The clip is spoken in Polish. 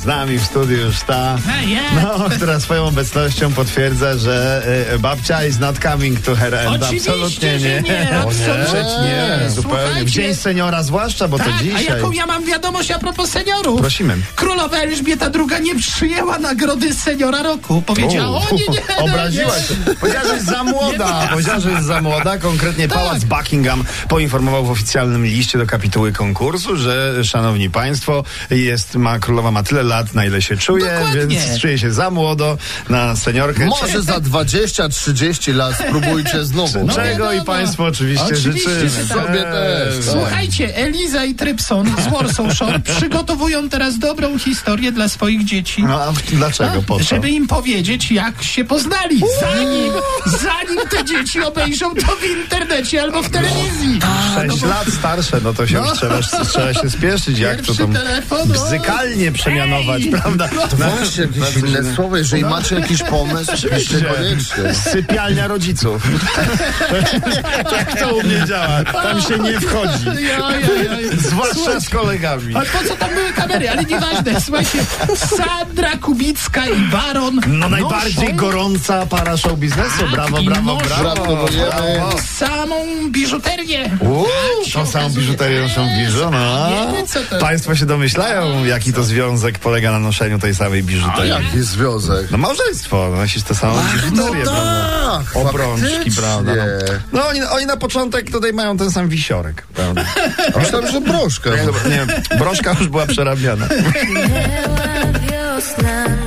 Z nami w studiu już ta, Hej, jest. no, która swoją obecnością potwierdza, że y, babcia is not coming to her end. Oczywiście, absolutnie że nie. nie, absolutnie. Przecież nie, zupełnie. W Słuchajcie. Dzień seniora zwłaszcza, bo to Tak, a dzisiaj. jaką ja mam wiadomość a propos seniorów? Prosimy. Królowa Elżbieta II nie przyjęła nagrody seniora roku. Powiedziała, o, U, nie, nie, Obraziła nie. się. Powiedziała, że jest za młoda. Nie. Powiedziała, że jest za młoda. Konkretnie Tak. pałac Buckingham poinformował w oficjalnym liście do kapituły konkursu, że szanowni państwo, jest, ma, królowa ma tyle lat, na ile się czuje, Dokładnie. więc czuje się za młodo na seniorkę. Może za 20-30 lat spróbujcie znowu. Czego wiadomo. i państwu No oczywiście, Oczywiście, życzymy. E, no. że tak. Sobie też, tak. Słuchajcie, Eliza i Trypson z Warsaw Shore przygotowują teraz dobrą historię dla swoich dzieci. No a dlaczego po co? Żeby im powiedzieć, jak się poznali, zanim, zanim te dzieci obejrzą to w internecie albo w telewizji. Sześć lat starsze, no to się już trzeba, trzeba się spieszyć, jak to Pierwszy tam telefon, o. bzykalnie przemianować, Ej! prawda? Na- Znaczy, No. Masz No, jakieś inne słowo, jeżeli macie jakiś pomysł, oczywiście koniecznie. Sypialnia rodziców. tak to u mnie działa. Tam się nie wchodzi. Ja, ja, ja. Zwłaszcza z kolegami. Ale po co tam były kamery? Ale nieważne, słuchajcie, Sandra Kubicka i Baron No no, najbardziej noszą gorąca para show biznesu. Tak, Brawo, i brawo, noszą. brawo. Gratulujemy. brawo. samą biżuterię. Uuu, się tą samą okazuje. biżuterię noszą Eee, biżu, no. wiemy, co to- Państwo się domyślają, jaki to związek polega na noszeniu tej samej biżuterii. Jaki związek? No No małżeństwo, nosisz tę samą no biżuterię, prawda? tak, no. Obrączki, faktycznie. prawda? No, no oni, oni na początek tutaj mają ten sam wisiorek, prawda? Myślałem, że broszka. Nie, broszka już była przerabiana. Była wiosna